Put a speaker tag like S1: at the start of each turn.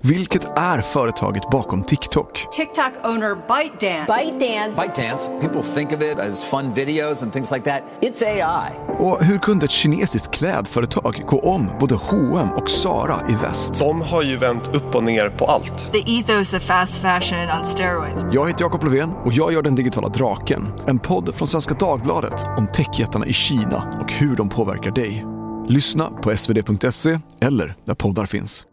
S1: Vilket är företaget bakom TikTok?
S2: TikTok owner ByteDance.
S3: ByteDance.
S4: ByteDance, people think of it as fun videos and things like that. It's AI.
S1: Och hur kunde ett kinesiskt klädföretag gå om både H&M och Zara i väst?
S5: De har ju vänt upp och ner på allt.
S6: The ethos of fast fashion on steroids.
S1: Jag heter Jakob Löfven och jag gör Den digitala draken. En podd från Svenska Dagbladet om techjättarna i Kina och hur de påverkar dig. Lyssna på svd.se eller där poddar finns.